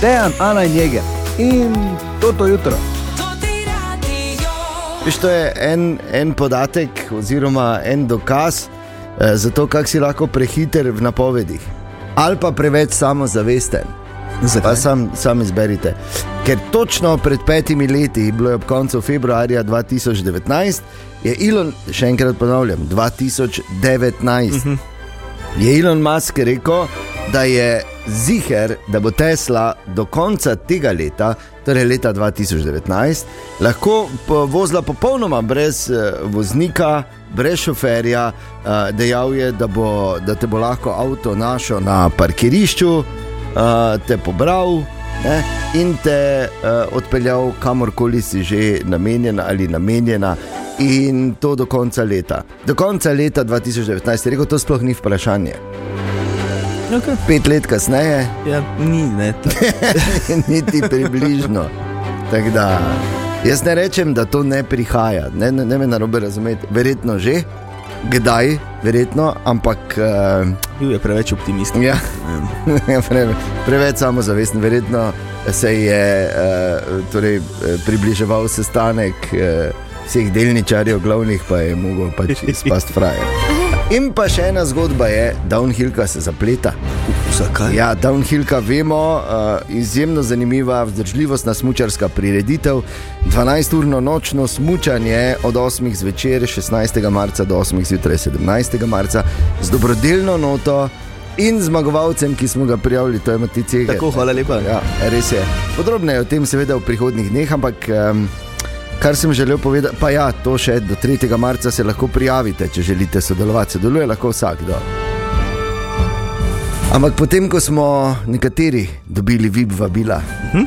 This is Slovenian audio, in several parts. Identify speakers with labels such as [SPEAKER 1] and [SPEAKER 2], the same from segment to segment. [SPEAKER 1] Dejan, Ana in Jeger in toto jutro.
[SPEAKER 2] Veš, to je en, en podatek, oziroma en dokaz eh, za to, kako si lahko prehiter v napovedih. Ali pa preveč samozavesten. Pa sam, sam izberite. Ker točno pred petimi leti, bilo je ob koncu februarja 2019, je Elon, še enkrat ponavljam, 2019.
[SPEAKER 1] Mhm.
[SPEAKER 2] Uh -huh je Elon Musk rekel, da je ziger, da bo Tesla do konca tega leta, torej leta 2019, lahko po- vozila popolnoma brez eh, voznika, brez šoferja. Eh, dejal je, da, bo, da te bo lahko avto našel na parkirišču, eh, te pobral. Ne, in te uh, odpeljal kamorkoli si že namenjena ali namenjena, in to do konca leta. Do konca leta 2019 je rekel, to sploh ni vprašanje.
[SPEAKER 3] Okay.
[SPEAKER 2] Pet let kasneje,
[SPEAKER 3] Ja, ni, ne. to-
[SPEAKER 2] niti približno. Tako da, jaz ne rečem, da to ne prihaja, ne, ne, ne me narobe razumeti. Verjetno že, kdaj, verjetno, ampak uh,
[SPEAKER 3] Bil je preveč optimist.
[SPEAKER 2] ja, pre, preveč samozavesten. Verjetno se je uh, torej, eh, približeval sestanek uh, vseh delničarjev, glavnih pa je mogel pač izpasti frajer. In pa še ena zgodba je, da downhillka se zapleta.
[SPEAKER 3] Zakaj?
[SPEAKER 2] Ja, downhillka vemo, uh, izjemno zanimiva vzdržljivostna smučarska prireditev. 12-urno nočno smučanje od 8. zvečer 16. marca do 8. zjutraj 17. marca z dobrodelno noto in zmagovalcem, ki smo ga prijavili, to je Matice.
[SPEAKER 3] Tako, hvala lepa.
[SPEAKER 2] Ja, res je. Podrobneje o tem seveda v prihodnih dneh, ampak um, kar sem želel povedati, pa ja, to še do 3. marca se lahko prijavite, če želite sodelovati. Sodeluje lahko vsakdo. Ampak potem, ko smo nekateri dobili vib vabila,
[SPEAKER 3] Mhm.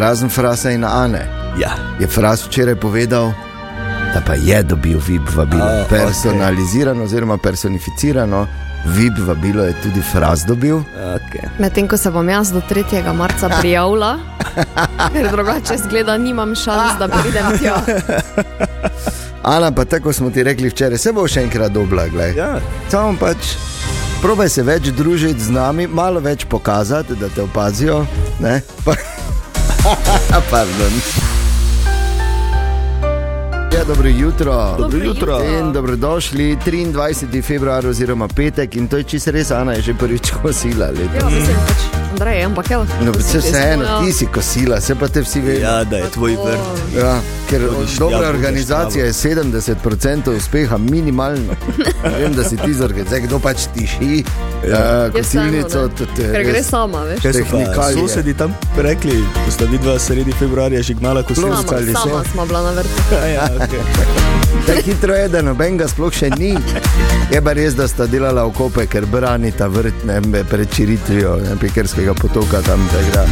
[SPEAKER 2] razen Frasa in Ane,
[SPEAKER 3] ja.
[SPEAKER 2] je Fras včeraj povedal, da pa je dobil vib vabilo.
[SPEAKER 3] A,
[SPEAKER 2] Personalizirano oziroma personificirano vib vabilo je tudi Fras dobil.
[SPEAKER 3] Okay.
[SPEAKER 4] Medtem ko se bom jaz do 3. marca prijavila, ker drugače zgleda, nimam šans, da pridem tja.
[SPEAKER 2] Ana, pa tako smo ti rekli včeraj, se bo še enkrat dobla. glej.
[SPEAKER 3] Ja.
[SPEAKER 2] Samo pač, probaj se več družiti z nami, malo več pokazati, da te opazijo. Ne? Pa... Pardon. Ja, dobro jutro.
[SPEAKER 3] Dobro jutro.
[SPEAKER 2] In dobrodošli 23. februar oziroma petek in to je čisto res, Ana je že prvič kosila.
[SPEAKER 4] Ja, mislim, pač, Andrej, ampak evo.
[SPEAKER 2] No,
[SPEAKER 4] mislim,
[SPEAKER 2] vseeno,
[SPEAKER 4] ja.
[SPEAKER 2] ti si kosila, se pa te vsi vemo.
[SPEAKER 3] ja, da je tvoj
[SPEAKER 4] Tako.
[SPEAKER 3] vrt.
[SPEAKER 2] Ja, ker
[SPEAKER 3] Hodiš tja,
[SPEAKER 2] dobra
[SPEAKER 3] budeš
[SPEAKER 2] organizacija je 70% uspeha, minimalno. Vem, da si ti zorganiziran, kdo pač tiši,
[SPEAKER 3] Ja.
[SPEAKER 2] ja. uh,
[SPEAKER 4] Je vseeno, ne.
[SPEAKER 2] kosilnico. tudi, eh,
[SPEAKER 4] Ker gre
[SPEAKER 2] res.
[SPEAKER 4] sama, veš.
[SPEAKER 3] Kaj so pa
[SPEAKER 2] Tehnikalije.
[SPEAKER 3] sosedi tam rekli, ko sta vidva sredi februarja žigmala
[SPEAKER 4] Sama,
[SPEAKER 3] kosilca ali
[SPEAKER 4] sama smo bila na vrtu.
[SPEAKER 3] Ja, okay.
[SPEAKER 2] Tako hitro je, da nobenega sploh še ni. Je pa res, da sta delala okope, ker branita vrt ne, me pred širitvijo ne, pekerskega potoka tam. tako da.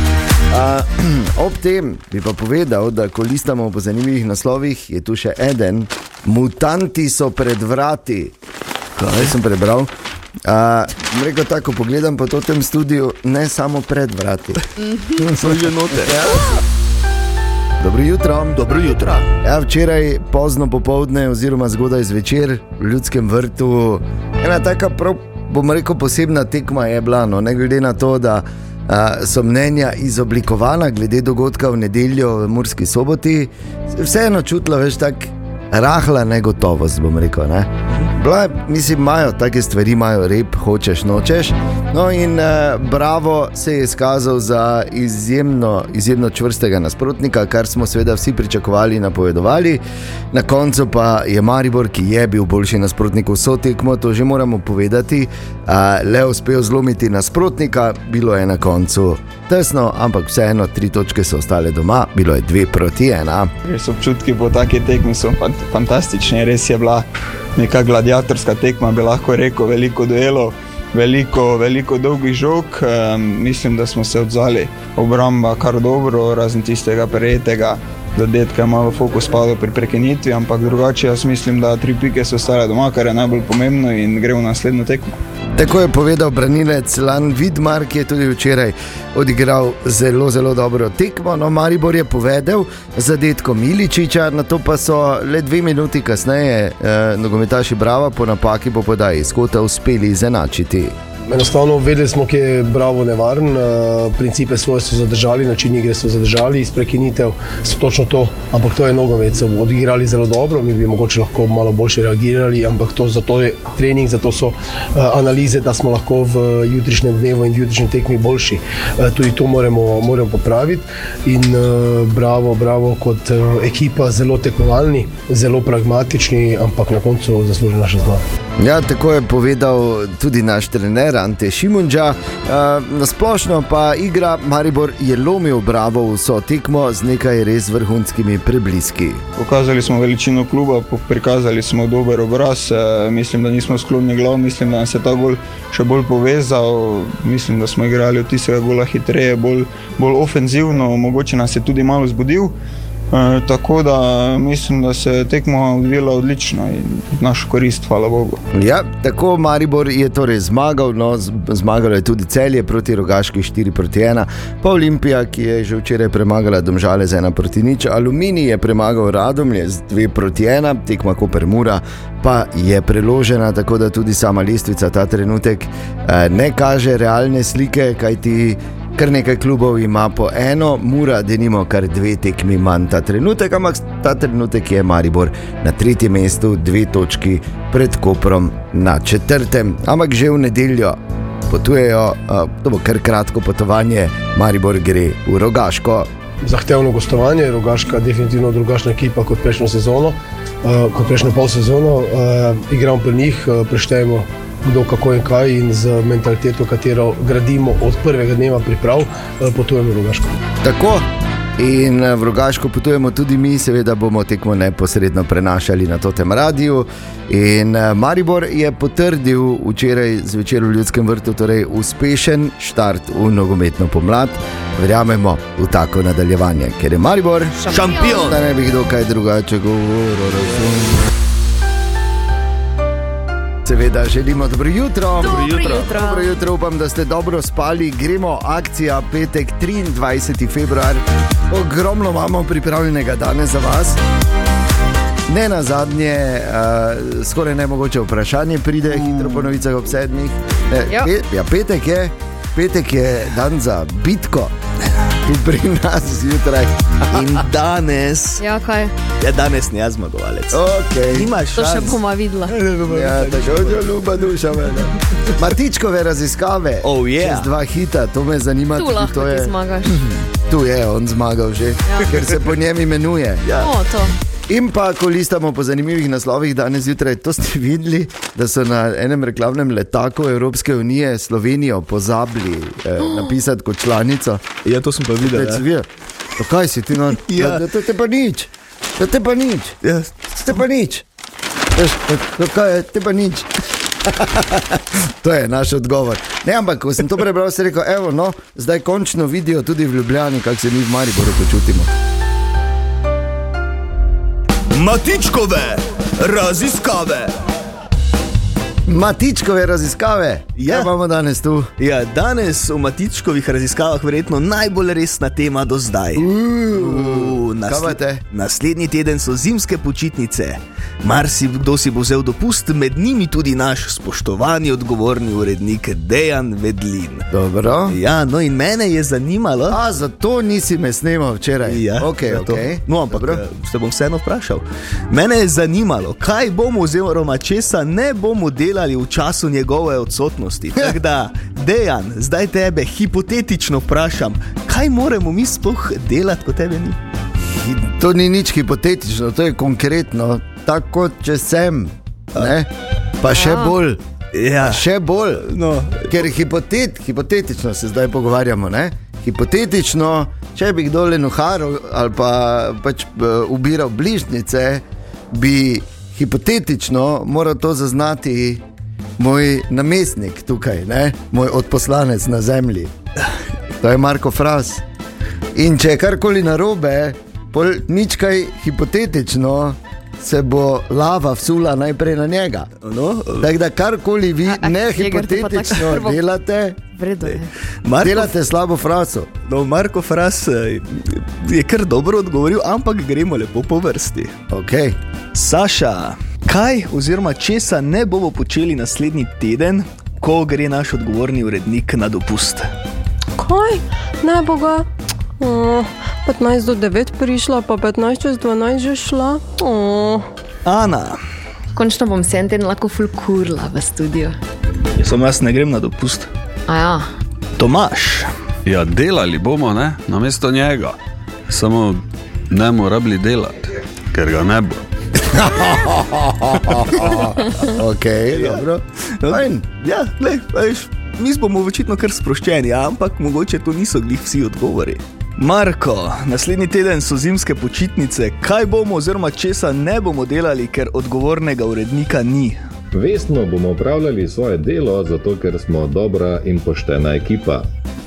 [SPEAKER 2] A, ob tem bi pa povedal, da ko listamo po zanimivih naslovih, je tu še eden. Mutanti so pred vrati. Kaj sem prebral? Uh, rekel tako, pogledam po tem studiu, ne samo pred vrati.
[SPEAKER 3] So
[SPEAKER 1] Mhm.
[SPEAKER 3] že note.
[SPEAKER 2] Dobro jutro.
[SPEAKER 3] Dobro jutro.
[SPEAKER 2] Ja, včeraj pozno popovdne, oziroma zgodaj zvečer v Ljudskem vrtu, ena taka prav, bom rekel, posebna tekma je bila, no, ne glede na to, da a, so mnenja izoblikovana glede dogodka v nedeljo v Murski soboti, vseeno čutila več tako rahla negotovost, bom rekel. Ne? Bila, je- mislim, imajo take stvari, imajo rep, hočeš, nočeš. No, in eh, Bravo se je izkazal za izjemno, izjemno čvrstega nasprotnika, kar smo seveda vsi pričakovali in napovedovali. Na koncu pa je Maribor, ki je bil boljši nasprotnik vso tekmo, to že moramo povedati, eh, le uspel zlomiti nasprotnika, bilo je na koncu tesno, ampak vseeno tri točke so ostale doma, bilo je dve proti ena.
[SPEAKER 5] Res občutki po taki tekmi so fant- fantastični, res je bila neka gladiatorska tekma, bi lahko rekel, veliko duelov, veliko, veliko dolgih žog. Um, mislim, da smo se odzvali obramba kar dobro, razen tistega prejetega. Zadetka je malo fokus padel pri prekinitvi, ampak drugače jaz mislim, da tri pike so ostale doma, kar je najbolj pomembno in gre v naslednjo tekmo.
[SPEAKER 2] Tako je povedal branilec Lan Vidmar, ki je tudi včeraj odigral zelo, zelo dobro tekmo. No, Maribor je povedal zadetko Miličiča, na to pa so le dve minuti kasneje eh, nogometaši Brava po napaki po podaji iz kota uspeli izenačiti.
[SPEAKER 6] Enostavno vedeli smo, kje je Bravo nevaren, eh, principe svoje so zadržali, način igre so zadržali, iz prekinitev so točno to, ampak to je nogomet, so odigrali zelo dobro, mi bi mogoče lahko malo boljše reagirali, ampak to, zato je trening, zato so eh, analize, da smo lahko v jutrišnjem dnevu in jutrišnji tekmi boljši. Eh, Tudi to moramo, moramo popraviti in eh, bravo, bravo kot eh, ekipa, zelo tekmovalni, zelo pragmatični, ampak na koncu zasluži naša zmaga.
[SPEAKER 2] Ja, tako je povedal tudi naš trener Ante Šimunča. E, nasplošno pa igra Maribor je lomil bravo vso tekmo z nekaj res vrhunskimi prebliski.
[SPEAKER 5] Pokazali smo veličino kluba, po- prikazali smo dober obraz, eh, mislim, da nismo sklonjeni glav, mislim, da nas je ta gol še bolj povezal, mislim, da smo igrali od tistega gola hitreje, bolj, bolj ofenzivno, mogoče nas je tudi malo zbudil. Eh, Tako da mislim, da se je tekma odvijala odlično in v našo korist, hvala Bogu.
[SPEAKER 2] Ja, tako Maribor je torej zmagal, no, z- zmagalo je tudi celje proti Rogaški 4 proti 1, pa Olimpija, ki je že včeraj premagala Domžale z 1 proti 0, Aluminij je premagal Radomlje z 2 proti 1, tekma Koper Mura pa je preložena, tako da tudi sama lestvica ta trenutek eh, ne kaže realne slike, kajti Kar nekaj klubov ima po eno, mora, da nimo kar dve tekmi manj ta trenutek, ampak ta trenutek je Maribor na tretjem mestu, dve točki pred Koprom na četrtem. Ampak že v nedeljo potujejo, a, to bo kar kratko potovanje, Maribor gre v Rogaško.
[SPEAKER 6] zahtevno gostovanje, Rogaška je definitivno drugačna ekipa kot prejšnjo sezono, uh, kot prejšnjo pol sezono. Uh, igramo pri njih, uh, preštejemo kdo, kako in kaj in z mentaliteto, katero gradimo od prvega dneva priprav, uh, potujemo v Rogaško.
[SPEAKER 2] Tako. In eh, v Rogaško potujemo tudi mi, seveda bomo tekmo neposredno prenašali na tem radiju. In eh, Maribor je potrdil včeraj zvečer v Ljudskem vrtu, torej uspešen štart v nogometno pomlad. Verjamemo v tako nadaljevanje, ker je Maribor šampion. Da ne bi kdo kaj drugače govoril. razumem. Seveda želimo dobro jutro.
[SPEAKER 4] Dobro jutro.
[SPEAKER 2] Dobro jutro, upam, da ste dobro spali. Gremo, akcija petek 23. februar. Ogromno imamo pripravljenega danes za vas. Ne na zadnje, uh, skoraj ne mogoče vprašanje pride, mm. hitro po novicah ob sedmih. Eh,
[SPEAKER 4] Ja.
[SPEAKER 2] pe, ja, petek, je, petek je dan za bitko, tu pri nas zjutraj.
[SPEAKER 1] In danes
[SPEAKER 4] Ja, kaj?
[SPEAKER 1] je danes ne zmagovalec.
[SPEAKER 2] Okay.
[SPEAKER 1] Nimaš
[SPEAKER 4] To še
[SPEAKER 1] šans.
[SPEAKER 4] bomo videla.
[SPEAKER 2] Ja, tako je ljuba duša. mene. Matičkove raziskave,
[SPEAKER 1] Oh, yeah.
[SPEAKER 2] čez dva hita, to me zanima.
[SPEAKER 4] Tu
[SPEAKER 2] tudi,
[SPEAKER 4] lahko
[SPEAKER 2] to
[SPEAKER 4] ti
[SPEAKER 2] je,
[SPEAKER 4] zmagaš.
[SPEAKER 2] Tu je on zmagal že, ja. ker se po njem imenuje. Ja.
[SPEAKER 4] O, to.
[SPEAKER 2] In pa, ko listamo po zanimivih naslovih danes zjutraj, to ste videli, da so na enem reklamnem letaku Evropske unije Slovenijo pozabili eh, napisati kot članico.
[SPEAKER 3] Ja, to sem pa videl.
[SPEAKER 2] Reci, vi, "Pa Kaj si ti, no?
[SPEAKER 3] Ja.
[SPEAKER 2] Da, da, da te pa nič, da te pa nič,
[SPEAKER 3] Ja.
[SPEAKER 2] da te pa nič. Veš, da- da Kaj je, te pa nič. To je naš odgovor. Ne, ampak ko sem to prebral, sem rekel, evo, no, zdaj končno vidijo tudi v Ljubljani, kako se mi v Mariboru počutimo.
[SPEAKER 1] Matičkove raziskave.
[SPEAKER 2] Matičkove raziskave,
[SPEAKER 1] Ja.
[SPEAKER 2] ja. imamo danes tu.
[SPEAKER 1] Ja, danes v Matičkovih raziskavah je verjetno najbolj resna tema do zdaj. Uuu,
[SPEAKER 2] Kaj pa te?
[SPEAKER 1] naslednji teden so zimske počitnice. Marsikdo si bo vzel dopust, med njimi tudi naš spoštovani odgovorni urednik Dejan Vedlin.
[SPEAKER 2] Dobro.
[SPEAKER 1] Ja, no in mene je zanimalo.
[SPEAKER 2] A zato nisi me snimal včeraj.
[SPEAKER 1] Ja,
[SPEAKER 2] okay,
[SPEAKER 1] ja, to.
[SPEAKER 2] okay.
[SPEAKER 1] No, ampak
[SPEAKER 2] Dobro.
[SPEAKER 1] eh, se bom vseeno vprašal. Mene je zanimalo, kaj bomo, oziroma česa ne bomo delali v času njegove odsotnosti. Tako da, dejan, zdaj tebe hipotetično vprašam, kaj moramo mi sploh delati, ko tebe ni?
[SPEAKER 2] Hi- to ni nič hipotetično, to je konkretno. Tako če sem, ne? pa še
[SPEAKER 4] Ja.
[SPEAKER 2] bolj.
[SPEAKER 1] Ja,
[SPEAKER 2] Še bolj.
[SPEAKER 1] no,
[SPEAKER 2] Ker hipotet, hipotetično se zdaj pogovarjamo. Ne? Hipotetično, če bi kdo le nuharo ali pa pač eh, ubiral bližnjice, bi hipotetično moral to zaznati moj namestnik tukaj, ne? moj odposlanec na zemlji. To je Marko Fras. In če je karkoli narobe, pol nič kaj hipotetično, se bo lava vsula najprej na njega.
[SPEAKER 1] no.
[SPEAKER 2] Tako da karkoli vi
[SPEAKER 4] a,
[SPEAKER 2] ne
[SPEAKER 4] Jeger, ti pa tako
[SPEAKER 2] hipotetično
[SPEAKER 4] prvo-
[SPEAKER 2] delate,
[SPEAKER 4] Vredno je.
[SPEAKER 1] Marko,
[SPEAKER 2] delate slabo frazo.
[SPEAKER 1] no, Marko Fras eh, je kar dobro odgovoril, ampak gremo lepo po vrsti.
[SPEAKER 2] Okay.
[SPEAKER 1] Saša, kaj oziroma česa ne bomo počeli naslednji teden, ko gre naš odgovorni urednik na dopust.
[SPEAKER 7] Kaj? Ne boga. Oh, 15 do 9 prišla, pa 15 čez 12 že šla. Oh.
[SPEAKER 1] Ana,
[SPEAKER 4] Končno bom se en teden lahko fulkurla v studiu. ja.
[SPEAKER 1] samo jaz ne grem na dopust.
[SPEAKER 4] Aja,
[SPEAKER 1] Tomaš,
[SPEAKER 8] Ja, delali bomo, ne, namesto njega. Samo ne bomo rabili delati, ker ga ne bo.
[SPEAKER 2] Ok, dobro.
[SPEAKER 1] Fajn. Ja, lej, veš, mi bomo očitno kar sproščeni, ja, ampak mogoče to niso glih vsi odgovori. Marko, naslednji teden so zimske počitnice. Kaj bomo, oziroma česa ne bomo delali, ker odgovornega urednika ni?
[SPEAKER 9] Vestno bomo upravljali svoje delo, zato ker smo dobra in poštena ekipa.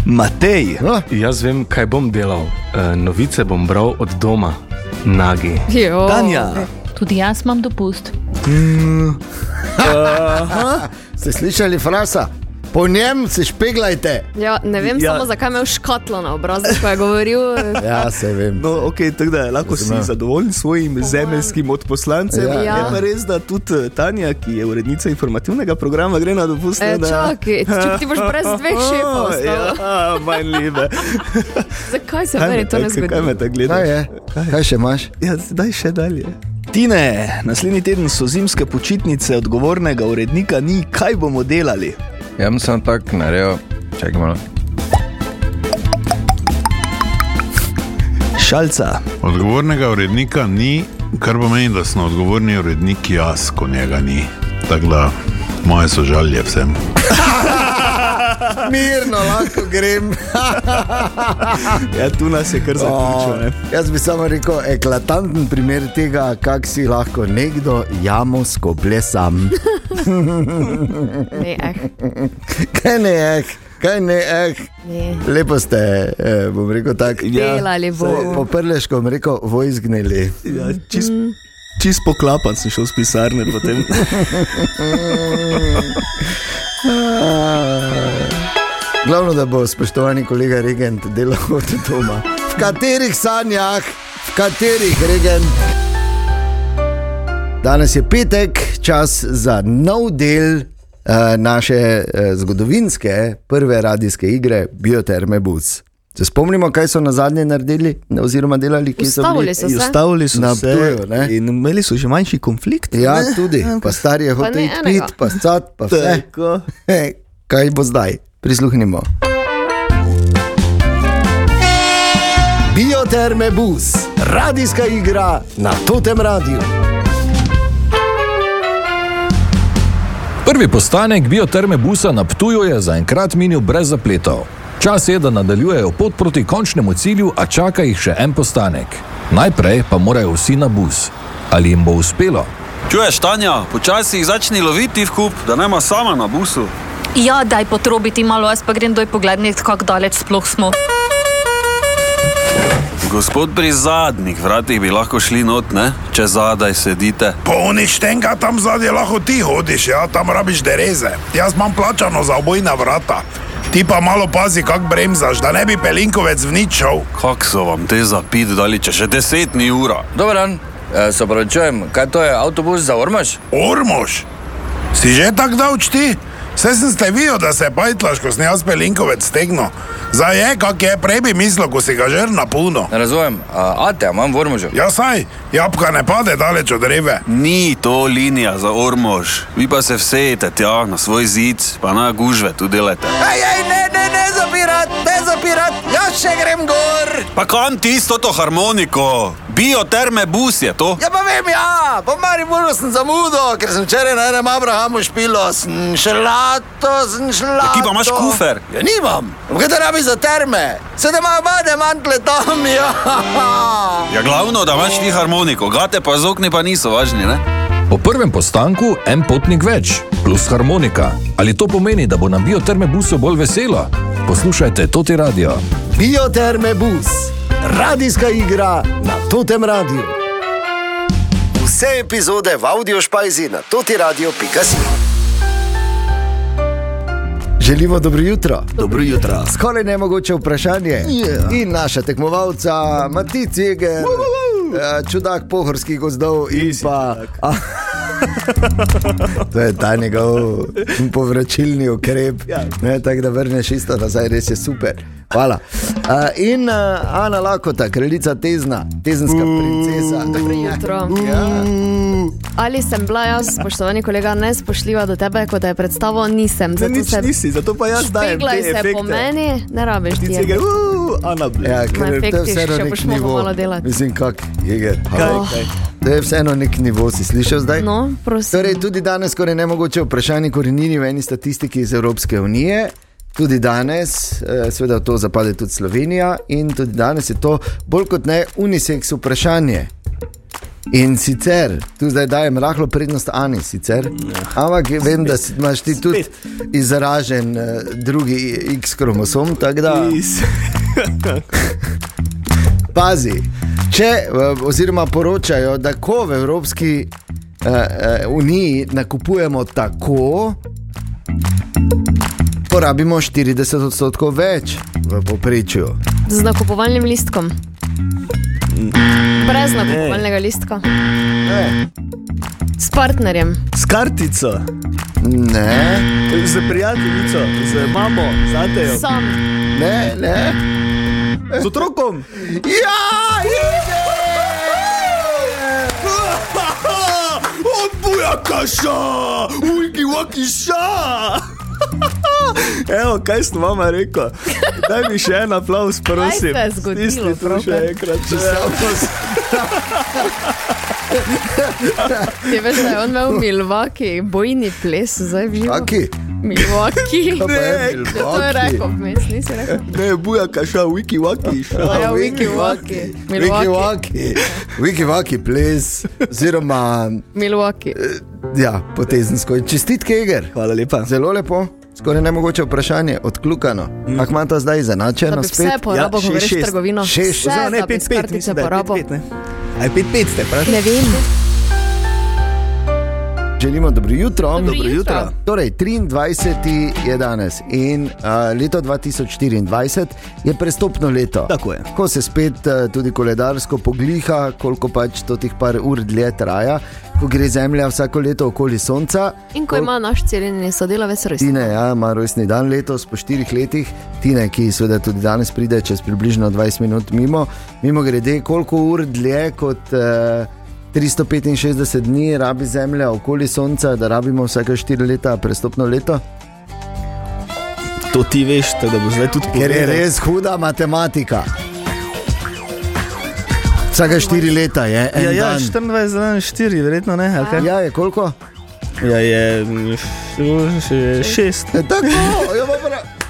[SPEAKER 1] Matej,
[SPEAKER 10] Jaz vem, kaj bom delal. E, novice bom bral od doma, nagi.
[SPEAKER 4] jo.
[SPEAKER 1] Tanja,
[SPEAKER 11] Tudi jaz imam dopust.
[SPEAKER 2] Ste slišali frasa? Po njem se špeglajte.
[SPEAKER 4] Ja, ne vem
[SPEAKER 1] Ja.
[SPEAKER 4] ja. samo, zakaj je imel škatlo na obrazu, ko je govoril.
[SPEAKER 2] Ja, se vem.
[SPEAKER 1] no, okay, tako da lahko si
[SPEAKER 2] Razumem.
[SPEAKER 1] zadovoljen s svojim zemeljskim odposlancem.
[SPEAKER 2] Ja.
[SPEAKER 1] Je
[SPEAKER 4] Ja.
[SPEAKER 1] pa res, da tudi eh, Tanja, ki je urednica informativnega programa, gre na dopust. ne,
[SPEAKER 4] E,
[SPEAKER 1] da-
[SPEAKER 4] čakaj, če ti boš brez dveh šefov,
[SPEAKER 1] Ah,
[SPEAKER 4] ostal.
[SPEAKER 1] Ja, manj lebe.
[SPEAKER 4] zakaj se
[SPEAKER 1] Kaj me
[SPEAKER 4] meni to ne
[SPEAKER 1] tako- Kaj me
[SPEAKER 4] zgodi?
[SPEAKER 1] tako gledaš?
[SPEAKER 2] Kaj je? Kaj še imaš?
[SPEAKER 1] Ja, zdaj še dalje. Tine, naslednji teden so zimske počitnice, odgovornega urednika ni, kaj bomo delali.
[SPEAKER 8] Jaz sem tak naredil, čakaj malo.
[SPEAKER 1] Šalca,
[SPEAKER 12] Odgovornega urednika ni, kar pomeni, da smo odgovorni urednik jaz, ko njega ni. Tako da moje sožalje vsem.
[SPEAKER 2] Mirno lahko grem.
[SPEAKER 1] ja, tu nas je kar zaključilo. ne.
[SPEAKER 2] Jaz bi samo rekel, eklatanten primer tega, kako si lahko nekdo jamo skoplje sam.
[SPEAKER 4] Ne, eh,
[SPEAKER 2] Kaj ne je, kaj ne je.
[SPEAKER 4] ne.
[SPEAKER 2] Lepo ste, eh, bom rekel tako. Ja.
[SPEAKER 4] Delali bomo.
[SPEAKER 2] Po prleško bom rekel, vojzgnili.
[SPEAKER 1] Ja, čist, čist poklapan sem šel z pisarne potem.
[SPEAKER 2] Glavno, da bo spoštovani kolega Regent delal od doma. V katerih sanjah, v katerih Regent. Danes je petek, čas za nov del eh, naše eh, zgodovinske prve radijske igre Bioterme Buc. Se spomnimo, kaj so na zadnje naredili, ne, oziroma delali, ki so bili.
[SPEAKER 4] Ustavili so se.
[SPEAKER 1] Ustavili so
[SPEAKER 2] Na
[SPEAKER 1] se
[SPEAKER 2] Ptuju, ne?
[SPEAKER 1] in imeli so že manjši konflikt.
[SPEAKER 2] Ja,
[SPEAKER 1] ne?
[SPEAKER 2] tudi, pa stari je
[SPEAKER 4] Pa ne
[SPEAKER 2] hotel iti
[SPEAKER 4] enega.
[SPEAKER 2] pit, pa sad, pa vse.
[SPEAKER 1] Tako.
[SPEAKER 2] Hej, kaj bo zdaj? Prisluhnimo. Bioterme bus, radijska igra na totem radiju.
[SPEAKER 10] Prvi postanek bioterme busa na Ptuju je zaenkrat minil brez zapletov. Čas je, da nadaljujejo pot proti končnemu cilju, a čaka jih še en postanek. Najprej pa morajo vsi na bus. Ali jim bo uspelo?
[SPEAKER 8] Čuješ, Tanja, počasi jih začni loviti v kup, da ne ima sama na busu.
[SPEAKER 11] Ja, daj potrobiti malo, jaz pa grem doj pogledati, kako daleč sploh smo.
[SPEAKER 8] Gospod pri zadnjih vratih bi lahko šli not, ne? če zadaj sedite.
[SPEAKER 12] Po uništenka tam zadnje lahko ti hodiš, ja, tam rabiš dereze. Jaz imam plačano za obojna vrata. Ti pa malo pazi, kak bremzaš, da ne bi pelinkovec v nič šel.
[SPEAKER 8] Kak so vam te zapit dali, če še deset ni ura?
[SPEAKER 10] Dober dan, e, se opravičujem, kaj to je avtobus za Ormaž?
[SPEAKER 12] Ormož, si že tak davč ti? Vse sem ste videl, da se pajtlaš, ko sem jaz pelinkovec stegno. Zdaj je, kak je, prej bi mislil, ko si ga žer na puno.
[SPEAKER 10] Ne razumem, E, a te imam v Ormažu.
[SPEAKER 12] Ja, saj, jabka ne pade daleč od dreve.
[SPEAKER 8] Ni to linija za Ormož, vi pa se vsejete tja na svoj zid, pa na gužve tu delate.
[SPEAKER 2] Aj, aj, ne, ne, ne zapirat, ne zapirat, jaz še grem gor.
[SPEAKER 8] Pa kam tisto to harmoniko? Bioterme bus je to?
[SPEAKER 2] Ja, pa vem, ja, po Mariboru sem zamudil, ker sem včeraj na enem Abrahamu špilo, sem šlato, sem šlato.
[SPEAKER 8] Kje pa imaš kufer?
[SPEAKER 2] Ja, nimam. Kaj te rabi za terme? Sedaj ima vade mantle tam, ja.
[SPEAKER 8] Ja, glavno, da imaš ti harmoniko, gate pa z okni pa niso važni, ne?
[SPEAKER 10] Po prvem postanku en potnik več, plus harmonika. Ali to pomeni, da bo na bioterme busu bolj veselo? Poslušajte, to ti radio.
[SPEAKER 2] Bioterme bus, radijska igra na totem radiju. Vse epizode v audio špajzi na totiradio.si. Želimo dobro jutro.
[SPEAKER 1] Dobro jutro. Ja.
[SPEAKER 2] Skoraj nemogoče vprašanje. Yeah. In naša tekmovalca, Eh, Matice, čudak pohorskih gozdov in pa Ah. To je ta njegov povračilni ukrep.
[SPEAKER 1] Ja.
[SPEAKER 2] Ne, Tako da vrneš isto nazaj, res je super. Hvala. Uh, in uh, Ana Lakota, kraljica Tezna, tezenska princesa.
[SPEAKER 4] Dobro jutro.
[SPEAKER 2] Ja.
[SPEAKER 4] Ali sem bila jaz, spoštovani kolega, nespoštljiva do tebe, kot da je predstavo nisem.
[SPEAKER 1] Zato nič se... nisi, zato pa jaz dajem.
[SPEAKER 4] Peglaj
[SPEAKER 1] te
[SPEAKER 4] se
[SPEAKER 1] efekte.
[SPEAKER 4] po meni, Ja. ne rabiš ti.
[SPEAKER 1] Ti cega, uh, Ana Bled.
[SPEAKER 2] Ja, ker
[SPEAKER 4] Ma,
[SPEAKER 2] to je
[SPEAKER 4] fektiš,
[SPEAKER 2] vseeno
[SPEAKER 4] še
[SPEAKER 2] nek
[SPEAKER 4] boš mogel
[SPEAKER 2] nivo.
[SPEAKER 4] malo delati.
[SPEAKER 2] Mislim, kak, Jeger.
[SPEAKER 4] Kaj, Oh. kaj?
[SPEAKER 2] To je vseeno nek nivo, si slišal zdaj?
[SPEAKER 4] No, prosim.
[SPEAKER 2] Torej, tudi danes skoraj nemogoče vprašanje korenini v eni statistiki iz Evropske unije. Tudi danes, eh, seveda v to zapade tudi Slovenija in tudi danes je to bolj kot ne unisex vprašanje. In sicer, tu zdaj dajem rahlo prednost Ani, sicer,
[SPEAKER 4] Ja.
[SPEAKER 2] ampak vem, da si- imaš ti tudi izražen eh, drugi X kromosom, tako da. Pazi, če, eh, oziroma poročajo, da ko v Evropski eh, eh, uniji nakupujemo tako, porabimo 40 odstotkov več v povprečju.
[SPEAKER 4] Z nakupovalnim listkom. Brez nakupovalnega listka.
[SPEAKER 2] Ne.
[SPEAKER 4] S partnerjem.
[SPEAKER 1] S kartico.
[SPEAKER 2] Ne.
[SPEAKER 1] Z prijateljico, z mamo, z atejo.
[SPEAKER 4] Sam.
[SPEAKER 2] Ne, ne.
[SPEAKER 1] Z otrokom.
[SPEAKER 2] Ja,
[SPEAKER 1] Odbuja kaša, ujki vakiša. Evo, kaj sem vama rekel? Daj mi še en aplaus, prosim.
[SPEAKER 4] Kaj se je zgodilo,
[SPEAKER 1] Stisni tu
[SPEAKER 4] pravkar?
[SPEAKER 1] še enkrat. Če se
[SPEAKER 4] Ti veš, da je on imel Milwaukee, bojni ples, zdaj v živo.
[SPEAKER 2] Kaki?
[SPEAKER 4] Milwaukee.
[SPEAKER 1] Kaj pa je
[SPEAKER 4] Ja, To je
[SPEAKER 1] Milwaukee?
[SPEAKER 4] rekel, vmes nisi rekel.
[SPEAKER 1] Ne, buja kaša, ujki vakiša.
[SPEAKER 4] A ja, Wiki Waki. Milwaukee.
[SPEAKER 2] Wiki-waki, wiki-waki ples, oziroma
[SPEAKER 4] Milwaukee.
[SPEAKER 2] ja, potezensko. In Čestitke, Eger.
[SPEAKER 1] Hvala lepa.
[SPEAKER 2] Zelo lepo. Skoraj nemogoče vprašanje, odkljukano. Mm. Ampak imata zdaj
[SPEAKER 4] Da
[SPEAKER 2] zanačeno
[SPEAKER 4] bi vse porabo, ko greš v trgovino.
[SPEAKER 2] Šest,
[SPEAKER 4] Vse,
[SPEAKER 1] Oziroma ne,
[SPEAKER 4] da bi
[SPEAKER 1] pet,
[SPEAKER 4] s
[SPEAKER 1] pet,
[SPEAKER 4] kartice
[SPEAKER 1] mislim, da je pet,
[SPEAKER 4] porabo.
[SPEAKER 1] pet, ne? Aj, pet, pet ste, prav?
[SPEAKER 4] Ne vem.
[SPEAKER 2] Želimo dobro jutro.
[SPEAKER 4] Dobro Dobro jutro. jutro.
[SPEAKER 2] Torej, 23. je danes in uh, leto 2024 je prestopno leto.
[SPEAKER 1] Tako je.
[SPEAKER 2] Ko se spet uh, tudi koledarsko pogliha, koliko pač to tih par ur dlje traja, ko gre Zemlja vsako leto okoli Sonca.
[SPEAKER 4] In ko ima naš celjeni sodelavec rojsten.
[SPEAKER 2] Tine, ja, ima rojstni dan letos po štirih letih, Tine, ki seveda tudi danes pride čez približno 20 minut mimo, mimo grede, koliko ur dlje kot eh, 365 dni rabi Zemlja okoli Sonca, da rabimo vsake 4 leta prestopno leto.
[SPEAKER 1] To ti veš, tako da bo zdaj tudi
[SPEAKER 2] Ker je
[SPEAKER 1] povedal.
[SPEAKER 2] res huda matematika. Vsake 4 leta je en
[SPEAKER 1] Ja, ja,
[SPEAKER 2] dan.
[SPEAKER 1] 24, dan, 4, verjetno ne. ali kaj?
[SPEAKER 2] Ja, je koliko?
[SPEAKER 1] Ja, je mm, še 6.
[SPEAKER 2] Tako,
[SPEAKER 1] ja,
[SPEAKER 2] jo bo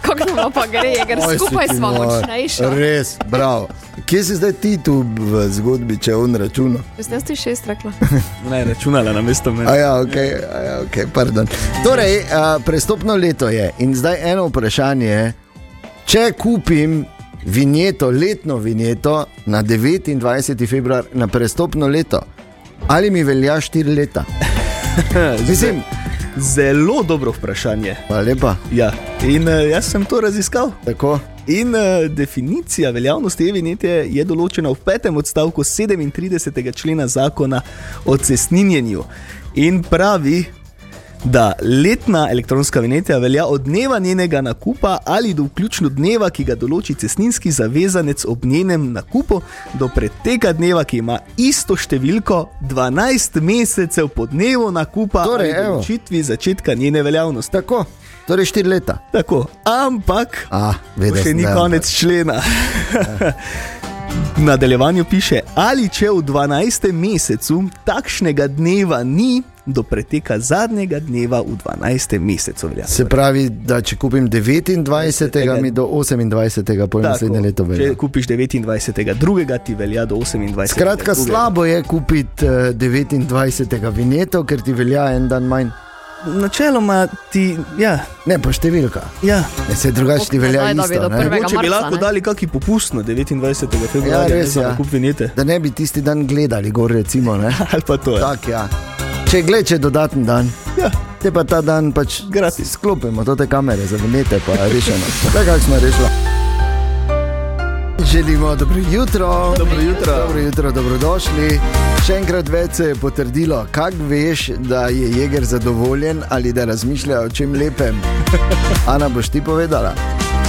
[SPEAKER 4] Kako nam pa gre, ker
[SPEAKER 2] Oj,
[SPEAKER 4] skupaj
[SPEAKER 2] si ti
[SPEAKER 4] smo
[SPEAKER 2] moj.
[SPEAKER 4] močnejši.
[SPEAKER 2] Res, bravo. Kje si zdaj ti tu v zgodbi, če on računa?
[SPEAKER 4] Zdaj ste šest rekla.
[SPEAKER 1] Ne, računala na mesto mene.
[SPEAKER 2] A ja, ok, a ja, okay pardon. Torej, a, prestopno leto je in zdaj eno vprašanje je, če kupim vinjeto, letno vinjeto na 29. februar na prestopno leto, ali mi velja 4 leta? Mislim,
[SPEAKER 1] Zelo dobro vprašanje.
[SPEAKER 2] Hvala lepa.
[SPEAKER 1] Ja. In eh, jaz sem to raziskal.
[SPEAKER 2] Tako.
[SPEAKER 1] In eh, definicija veljavnosti e-vinjete je določena v petem odstavku 37. člena zakona o cestninjenju in pravi, da letna elektronska vinjeta velja od dneva njenega nakupa ali do vključno dneva, ki ga določi cestninski zavezanec ob njenem nakupu, do preteka dneva, ki ima isto številko 12 mesecev po dnevu nakupa
[SPEAKER 2] Torej,
[SPEAKER 1] ali
[SPEAKER 2] evo.
[SPEAKER 1] določitvi začetka njene veljavnosti.
[SPEAKER 2] Tako. Torej, 4 leta.
[SPEAKER 1] Tako, ampak
[SPEAKER 2] A,
[SPEAKER 1] To
[SPEAKER 2] vedel
[SPEAKER 1] še
[SPEAKER 2] sem,
[SPEAKER 1] ni
[SPEAKER 2] da-
[SPEAKER 1] konec člena. V nadaljevanju piše, ali če v 12. mesecu takšnega dneva ni, do preteka zadnjega dneva v 12. mesecu velja.
[SPEAKER 2] Se pravi, da če kupim 29. mi do 28. po naslednje leto velja.
[SPEAKER 1] če kupiš 29. drugega, ti velja do 28.
[SPEAKER 2] Skratka,
[SPEAKER 1] drugega.
[SPEAKER 2] slabo je kupiti eh, 29. vinjeto, ker ti velja en dan manj.
[SPEAKER 1] Načeloma ti, ja.
[SPEAKER 2] Ne, pa številka.
[SPEAKER 1] Ja.
[SPEAKER 2] Ne, se drugače ti velja isto. ne.
[SPEAKER 1] Mogoče bi lahko dali kaki popust na 29.
[SPEAKER 2] Ja,
[SPEAKER 1] februarja,
[SPEAKER 2] res
[SPEAKER 1] za
[SPEAKER 2] je.
[SPEAKER 1] nakup vinjete.
[SPEAKER 2] Da ne bi tisti dan gledali, gor recimo. Ne?
[SPEAKER 1] Ali pa to je.
[SPEAKER 2] Tak, ja. Če gledaš dodaten dan,
[SPEAKER 1] ja.
[SPEAKER 2] te pa ta dan pač
[SPEAKER 1] Gratis.
[SPEAKER 2] sklopimo, to te kamere, zavinete pa rešeno. Tako kako smo rešili. Že želimo dobro jutro. Dobro jutro. Dobro jutro, dobrodošli. Še enkrat več se je potrdilo, kak veš, da je Jeger zadovoljen ali da razmišlja o čem lepem. Ana, boš ti povedala?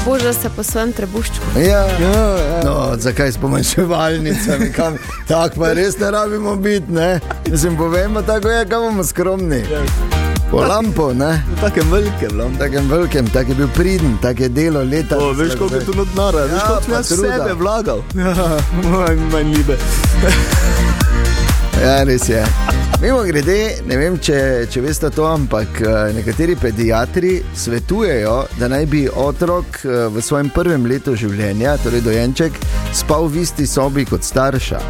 [SPEAKER 4] Bože se po svojem trebuščku.
[SPEAKER 2] Ja, ja, ja. No, zakaj s pomanjševalnicami, kam tako pa res ne rabimo biti, ne? Mislim, povemo tako je, kam bomo skromni. Po lampo, ne? Takem velikem,
[SPEAKER 1] no.
[SPEAKER 2] lampo. Takem velikem, tak je bil pridn, tak je delo leta.
[SPEAKER 1] O, veš, koliko je tu notnara,
[SPEAKER 2] ja,
[SPEAKER 1] veš, koliko sem
[SPEAKER 2] pa
[SPEAKER 1] jaz
[SPEAKER 2] truda.
[SPEAKER 1] sebe vlagal.
[SPEAKER 2] Ja, moj manj libe. ja, res je. Mimo grede, ne vem, če, če veste to, ampak eh, nekateri pediatri svetujejo, da naj bi otrok eh, v svojem prvem letu življenja, torej dojenček, spal v isti sobi kot starša.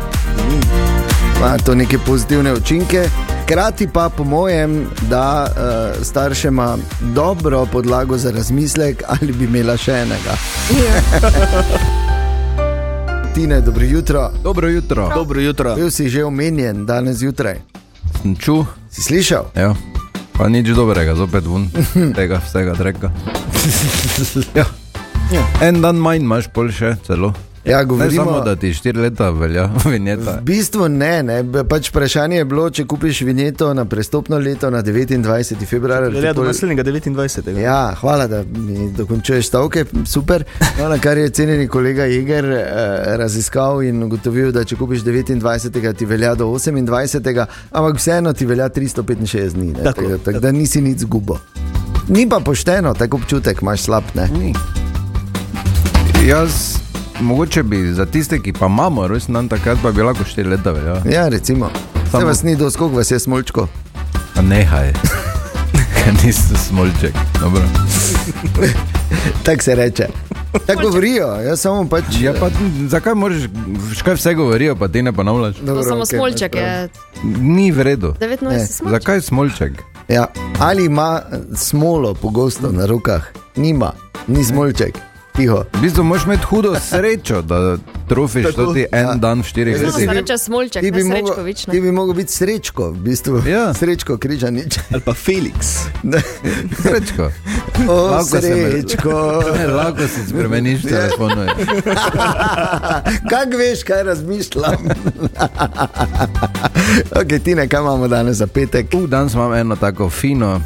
[SPEAKER 2] Ima to neke pozitivne učinke. Hkrati pa, po mojem, da uh, staršema dobro podlago za razmislek, ali bi imela še enega. Tine, dobro jutro.
[SPEAKER 13] Dobro jutro.
[SPEAKER 1] Dobro jutro.
[SPEAKER 2] Bil si že omenjen danes zjutraj.
[SPEAKER 13] Sem čul.
[SPEAKER 2] Si slišal?
[SPEAKER 13] Ja. Pa nič dobrega, zopet vun, tega vsega treka. ja.
[SPEAKER 2] Ja.
[SPEAKER 13] En dan manj imaš pol še celo.
[SPEAKER 2] Ja,
[SPEAKER 13] Ne
[SPEAKER 2] govorimo-
[SPEAKER 13] samo, da ti štiri leta velja vinjeta.
[SPEAKER 2] V bistvu ne, ne. b- Pač vprašanje je bilo, če kupiš vinjeto na prestopno leto na 29. februar.
[SPEAKER 1] Velja do naslednjega 29.
[SPEAKER 2] Ja, hvala, da mi dokončuješ stavke, super. No, na kar je cenjeni kolega Jeger eh, raziskal in ugotovil, da če kupiš 29. ti velja do 28. ampak vseeno ti velja 365 dni. ne.
[SPEAKER 1] Tako,
[SPEAKER 2] Tako, tako da nisi nič zgubo. Ni pa pošteno, tako občutek imaš slab. Ne?
[SPEAKER 13] Jaz, mogoče bi za tiste, ki pa imamo rojsten dan, takrat pa bi lahko štiri leta velja.
[SPEAKER 2] Ja, recimo. Samo
[SPEAKER 13] Samo-
[SPEAKER 2] vas ni dosto, koliko vas je smolčko.
[SPEAKER 13] A nehaj. Niste smolček. Dobro.
[SPEAKER 2] Tako se reče. Tako govorijo, jaz samo pač.
[SPEAKER 13] Ja, pa, zakaj moraš, kaj vse govorijo, pa ti ne ponavljaš?
[SPEAKER 4] To samo smolček je.
[SPEAKER 13] Ni v redu.
[SPEAKER 4] 29
[SPEAKER 13] Ne.
[SPEAKER 4] smolček.
[SPEAKER 13] Zakaj smolček?
[SPEAKER 2] Ja. Ali ima eh, smolo pogosto na rokah? Nima, ni smolček. Tiho.
[SPEAKER 13] V bistvu moraš imeti hudo srečo, da trofiš
[SPEAKER 2] Tako,
[SPEAKER 13] to ti en ja. dan v štirih
[SPEAKER 4] Zato se
[SPEAKER 13] letih.
[SPEAKER 4] reče smolček,
[SPEAKER 2] Ti
[SPEAKER 4] ne
[SPEAKER 2] bi, mogel,
[SPEAKER 4] srečkovič. ne.
[SPEAKER 2] ti bi mogel biti srečko, v bistvu. Ja. Srečko, križanič.
[SPEAKER 1] Ali pa Felix.
[SPEAKER 13] Srečko.
[SPEAKER 2] O,
[SPEAKER 13] Lahko se me-
[SPEAKER 2] srečko.
[SPEAKER 13] Lahko si spremeniš
[SPEAKER 2] Ja.
[SPEAKER 13] telefon.
[SPEAKER 2] Kaj veš, kaj razmišljam? okay, Tine, kaj imamo danes za petek?
[SPEAKER 13] U, danes imam eno tako fino.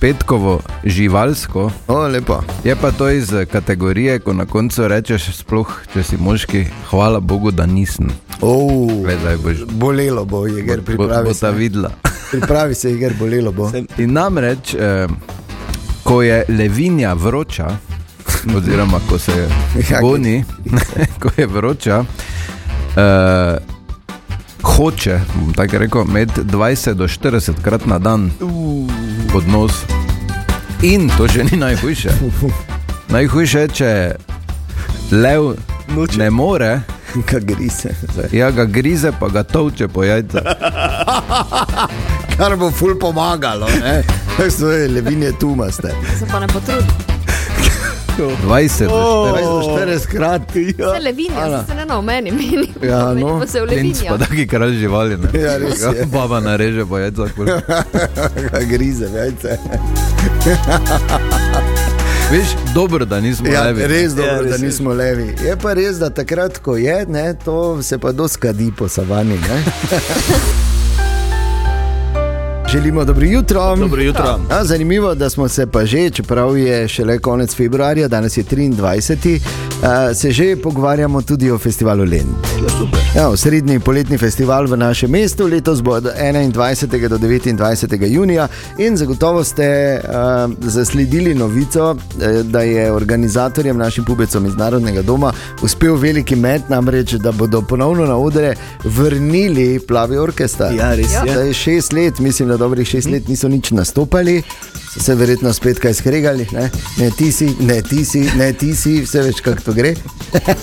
[SPEAKER 13] Petkovo živalsko.
[SPEAKER 2] O, lepo.
[SPEAKER 13] Je pa to iz kategorije, ko na koncu rečeš, sploh če si moški, hvala Bogu, da nisem.
[SPEAKER 2] Oh,
[SPEAKER 13] Gledaj, boš,
[SPEAKER 2] bolelo bo, je ger
[SPEAKER 13] bo,
[SPEAKER 2] pripravi.
[SPEAKER 13] bo
[SPEAKER 2] se.
[SPEAKER 13] ta videla.
[SPEAKER 2] Pripravi se, je bolelo bo.
[SPEAKER 13] In namreč, eh, ko je levinja vroča, oziroma ko se
[SPEAKER 2] Ja,
[SPEAKER 13] goni, ko je vroča, eh, hoče, bom tako rekel, med 20 do 40 krat na dan pod nos. In to še ni najhujše. Najhujše je, če lev Noče. ne more.
[SPEAKER 2] Ga grize.
[SPEAKER 13] Ja, ga grize, pa ga toče po jajca.
[SPEAKER 2] Kar bo ful pomagalo, ne? Tako so levinje tumaste.
[SPEAKER 4] Se pa ne potrudi.
[SPEAKER 13] 20
[SPEAKER 2] Oh. Ja.
[SPEAKER 13] do
[SPEAKER 2] 40
[SPEAKER 13] 40.
[SPEAKER 2] krat.
[SPEAKER 4] Se levinja,
[SPEAKER 13] Ana.
[SPEAKER 4] se ne na omeni, meni.
[SPEAKER 13] Ja, no,
[SPEAKER 4] pa se v
[SPEAKER 13] Klinc
[SPEAKER 4] levinja.
[SPEAKER 13] pa taki kralj živali. Ne?
[SPEAKER 2] Ja, res
[SPEAKER 13] Ga
[SPEAKER 2] je.
[SPEAKER 13] Baba nareže po jajca. kul.
[SPEAKER 2] Ja. Kaj grize, vejte.
[SPEAKER 13] Veš, dobro, da nismo
[SPEAKER 2] Ja,
[SPEAKER 13] levi.
[SPEAKER 2] res dobro, ja, res da nismo levi. Je pa res, da takrat, ko je, ne, to se pa doskadi po savani. ne. Želimo dobro jutro. Dobro jutro. Ja, zanimivo, da smo se pa že, čeprav je šele konec februarja, danes je 23. Uh, se že pogovarjamo tudi o festivalu Lend. Ja, osrednji poletni festival v našem mestu letos bo od 21. do 29. junija in zagotovo ste uh, zasledili novico, eh, da je organizatorjem, našim pubecom iz Narodnega doma, uspel veliki met, namreč, da bodo ponovno na odre vrnili plavi orkester.
[SPEAKER 1] Ja, res je.
[SPEAKER 2] Zdaj šest let, mislim, da dobrih šest let niso nič nastopali. So se verjetno spet kaj skregali, ne, ne ti si, ne ti si, ne ti si, vse več kako to gre.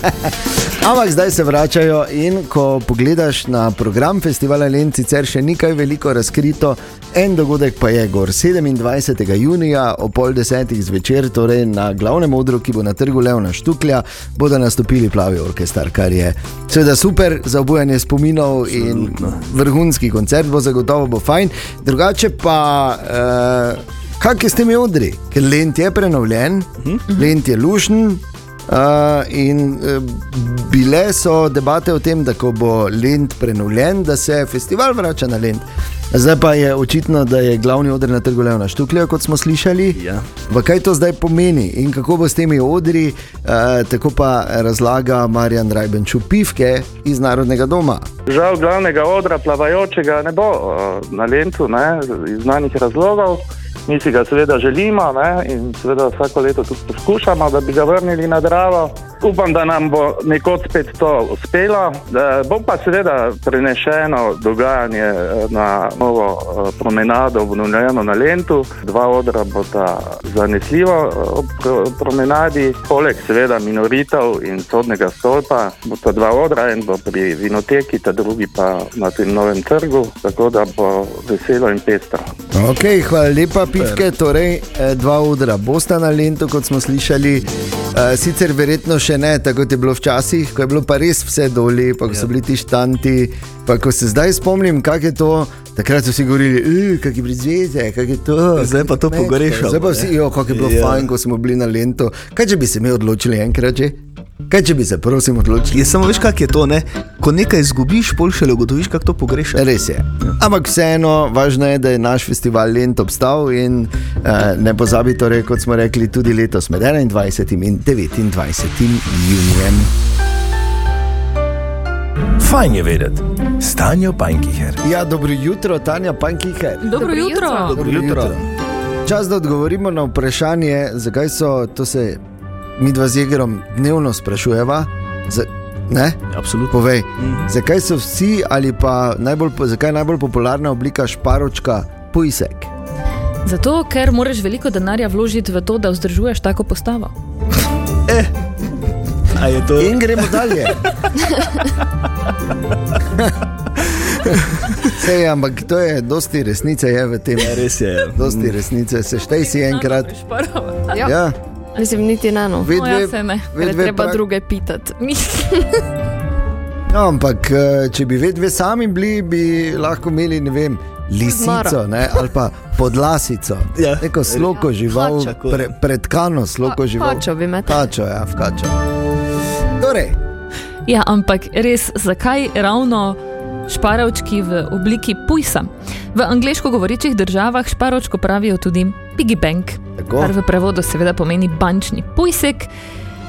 [SPEAKER 2] Ampak zdaj se vračajo in ko pogledaš na program festivala Lend, sicer še ni kaj veliko razkrito, en dogodek pa je gor 27. junija ob pol desetih zvečer, torej na glavnem odru, ki bo na trgu Levna Štuklja, bodo nastopili plavi orkester, kar je seveda super za obujanje spominov in vrhunski koncert bo zagotovo bo fajn. Drugače pa, eh, kak je s temi odri, ker Lend je prenovljen, Lend je lušen. Uh, in eh, bile so debate o tem, da ko bo Lend prenovljen, da se festival vrača na Lend. Zdaj pa je očitno, da je glavni oder na trgu Levna Štuklja, kot smo slišali.
[SPEAKER 1] Ja.
[SPEAKER 2] V Kaj to zdaj pomeni in kako bo s temi odri, eh, tako pa razlaga Marjan Rajbenču Pivke iz Narodnega doma.
[SPEAKER 14] Žal glavnega odra plavajočega ne bo eh, na Lentu, ne, iz znanih razlogov. Mi si ga seveda želimo ne, in seveda vsako leto tudi poskušamo, da bi ga vrnili na Dravo. Upam, da nam bo nekoč spet to uspelo. Eh, Bo pa seveda prenešeno dogajanje eh, na novo eh, promenado, obnovljeno na Lentu. Dva odra bosta zanesljivo eh, ob pro- promenadi, poleg seveda minoritov in sodnega stolpa, bosta dva odra, en bo pri vinoteki, ta drugi pa na tem novem trgu, tako da bo veselo in pestro.
[SPEAKER 2] Okay, hvala lepa, pivke. Torej, eh, dva udra bosta na Lendu, kot smo slišali. Eh, Sicer verjetno še ne, tako kot je bilo včasih, ko je bilo pa res vse dolje, pa ko
[SPEAKER 1] Ja.
[SPEAKER 2] so bili ti štanti. Pa ko se zdaj spomnim, kako je to, takrat so vsi govorili, kak je brezveze, kak je to.
[SPEAKER 1] Zdaj pa to
[SPEAKER 2] kmetko."
[SPEAKER 1] pogrešamo,
[SPEAKER 2] Zdaj pa
[SPEAKER 1] ne?
[SPEAKER 2] vsi, jo, kako je bilo
[SPEAKER 1] Ja.
[SPEAKER 2] fajn, ko smo bili na Lendu. Kaj če bi se mi odločili enkrat že? Kaj če bi se, prosim, odločili?
[SPEAKER 1] Je samo veš, kak je to, ne? Ko nekaj izgubiš, bolj še le ugotoviš, kako to
[SPEAKER 15] Er,
[SPEAKER 1] pogrešaš.
[SPEAKER 2] Res je. Ampak vseeno, važno je, da je naš festival Lent obstal in eh, ne pozabi, torej, kot smo rekli, tudi letos med 21 in 29 junijem.
[SPEAKER 15] Fajn je vedeti, stanje Pankiher.
[SPEAKER 2] Ja, dobro jutro, Tanja Pankiher.
[SPEAKER 11] Dobro jutro.
[SPEAKER 2] Čas, da odgovorimo na vprašanje, zakaj so, to se mi dva z Jegerom dnevno sprašujeva. Za, ne?
[SPEAKER 1] Absolutno.
[SPEAKER 2] Povej, mm. zakaj so vsi ali pa najbolj, po- zakaj je najbolj popularna oblika šparočka pujsek?
[SPEAKER 16] Zato, ker moraš veliko denarja vložiti v to, da vzdržuješ tako postavo.
[SPEAKER 1] To...
[SPEAKER 2] In gremo dalje. Sej, ampak to je, dosti resnice je v tem. Ja,
[SPEAKER 1] E, res je.
[SPEAKER 2] Dosti resnice, seštej si enkrat.
[SPEAKER 4] Ja.
[SPEAKER 2] Ja.
[SPEAKER 4] Mislim, niti ne eno.
[SPEAKER 16] No,
[SPEAKER 11] No,
[SPEAKER 2] Ve
[SPEAKER 11] ja,
[SPEAKER 2] dve- ve
[SPEAKER 4] Ker
[SPEAKER 2] dve
[SPEAKER 4] treba
[SPEAKER 2] prak-
[SPEAKER 4] druge pitati.
[SPEAKER 2] No, ampak eh, če bi vedve sami bili, bi lahko imeli, ne vem, lisico
[SPEAKER 1] Zmaro.
[SPEAKER 2] ne, ali pa podlasico.
[SPEAKER 1] Ja.
[SPEAKER 2] Neko sloko žival,
[SPEAKER 1] Kača, ko-
[SPEAKER 2] pre, predkano sloko
[SPEAKER 1] Pa-
[SPEAKER 2] žival.
[SPEAKER 1] kačo
[SPEAKER 16] bi metali.
[SPEAKER 2] Kačo, ja, v kačo. Torej.
[SPEAKER 16] Ja, ampak res, zakaj ravno šparovčki v obliki pujsa? V angliško govorečih državah šparovčko pravijo tudi piggy bank,
[SPEAKER 2] Tako.
[SPEAKER 16] kar v prevodu seveda pomeni bančni pujsek.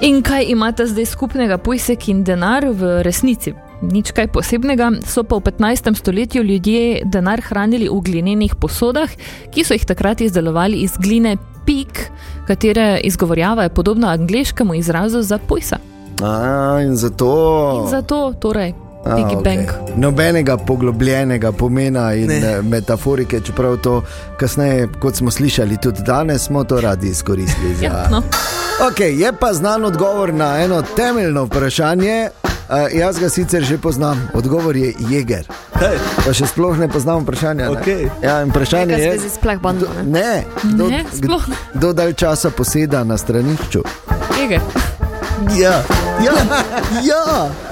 [SPEAKER 16] In kaj imata zdaj skupnega pujsek in denar v resnici? Nič kaj posebnega, so pa v 15. stoletju ljudje denar hranili v glinenih posodah, ki so jih takrat izdelovali iz gline pik, katere izgovorjava je podobna angliškemu izrazu za pujsa.
[SPEAKER 2] A, in zato.
[SPEAKER 16] In zato torej,
[SPEAKER 2] Oh. A,
[SPEAKER 16] Piggy
[SPEAKER 2] okej.
[SPEAKER 16] Bank.
[SPEAKER 2] Nobenega poglobljenega pomena in ne. metaforike, čeprav to kasneje, kot smo slišali, tudi danes smo to radi izkoristili. Za...
[SPEAKER 16] Ja, no.
[SPEAKER 2] okay, je pa znan odgovor na eno temeljno vprašanje. Uh, jaz ga sicer že poznam, odgovor je jeger.
[SPEAKER 1] Kaj?
[SPEAKER 2] Pa še sploh ne poznam vprašanja. ne.
[SPEAKER 1] Okej.
[SPEAKER 2] Ja, in vprašanje
[SPEAKER 1] Nekaj
[SPEAKER 2] je,
[SPEAKER 1] zvezi s
[SPEAKER 4] kdo,
[SPEAKER 2] ne, kdo,
[SPEAKER 1] Ne, sploh ne.
[SPEAKER 2] kdo dalj časa poseda na stranišču.
[SPEAKER 16] Ege.
[SPEAKER 1] Ja. Ja, ja,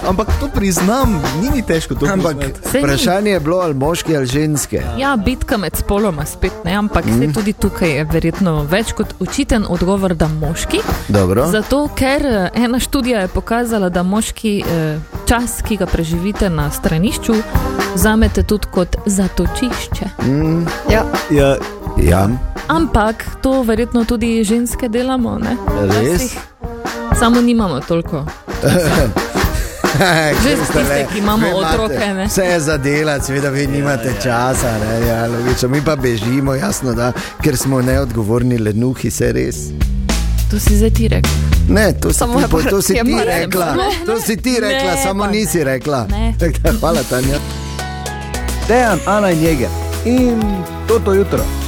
[SPEAKER 1] ampak to priznam, ni mi težko to
[SPEAKER 2] Ampak
[SPEAKER 1] priznati.
[SPEAKER 16] Saj ni.
[SPEAKER 2] Vprašanje je bilo ali moški ali ženske.
[SPEAKER 16] ja, bitka med spoloma spet ne, ampak
[SPEAKER 2] Mm.
[SPEAKER 16] mm. tudi tukaj je verjetno več kot očiten odgovor, da moški.
[SPEAKER 2] Dobro.
[SPEAKER 16] Zato, ker eh, ena študija je pokazala, da moški eh, čas, ki ga preživite na stranišču, vzamete tudi kot zatočišče.
[SPEAKER 2] Mm.
[SPEAKER 4] Ja.
[SPEAKER 1] Ja.
[SPEAKER 2] ja.
[SPEAKER 16] Ampak to verjetno tudi ženske delamo, ne?
[SPEAKER 2] Res?
[SPEAKER 16] Včasih. Samo nimamo toliko.
[SPEAKER 2] Že
[SPEAKER 16] tiste, ki imamo otroke, ne.
[SPEAKER 2] Vse je za dela, seveda, vi nimate ja, ja. časa, ne, ja, logično. mi pa bežimo, jasno, da, ker smo neodgovorni, lenuhi, se res.
[SPEAKER 16] To si zdaj ti rekel.
[SPEAKER 2] Ne, to si,
[SPEAKER 16] Samo
[SPEAKER 2] ti, po,
[SPEAKER 16] je
[SPEAKER 2] to si
[SPEAKER 16] pa-
[SPEAKER 2] ti
[SPEAKER 16] je pa-
[SPEAKER 2] rekla,
[SPEAKER 16] Ne,
[SPEAKER 2] to si ti
[SPEAKER 16] ne,
[SPEAKER 2] rekla,
[SPEAKER 16] ne,
[SPEAKER 2] samo
[SPEAKER 16] pa
[SPEAKER 2] nisi rekla.
[SPEAKER 16] Ne.
[SPEAKER 2] Tako da, Hvala, Tanja. Dejan, Ana in Jeger. In toto jutro.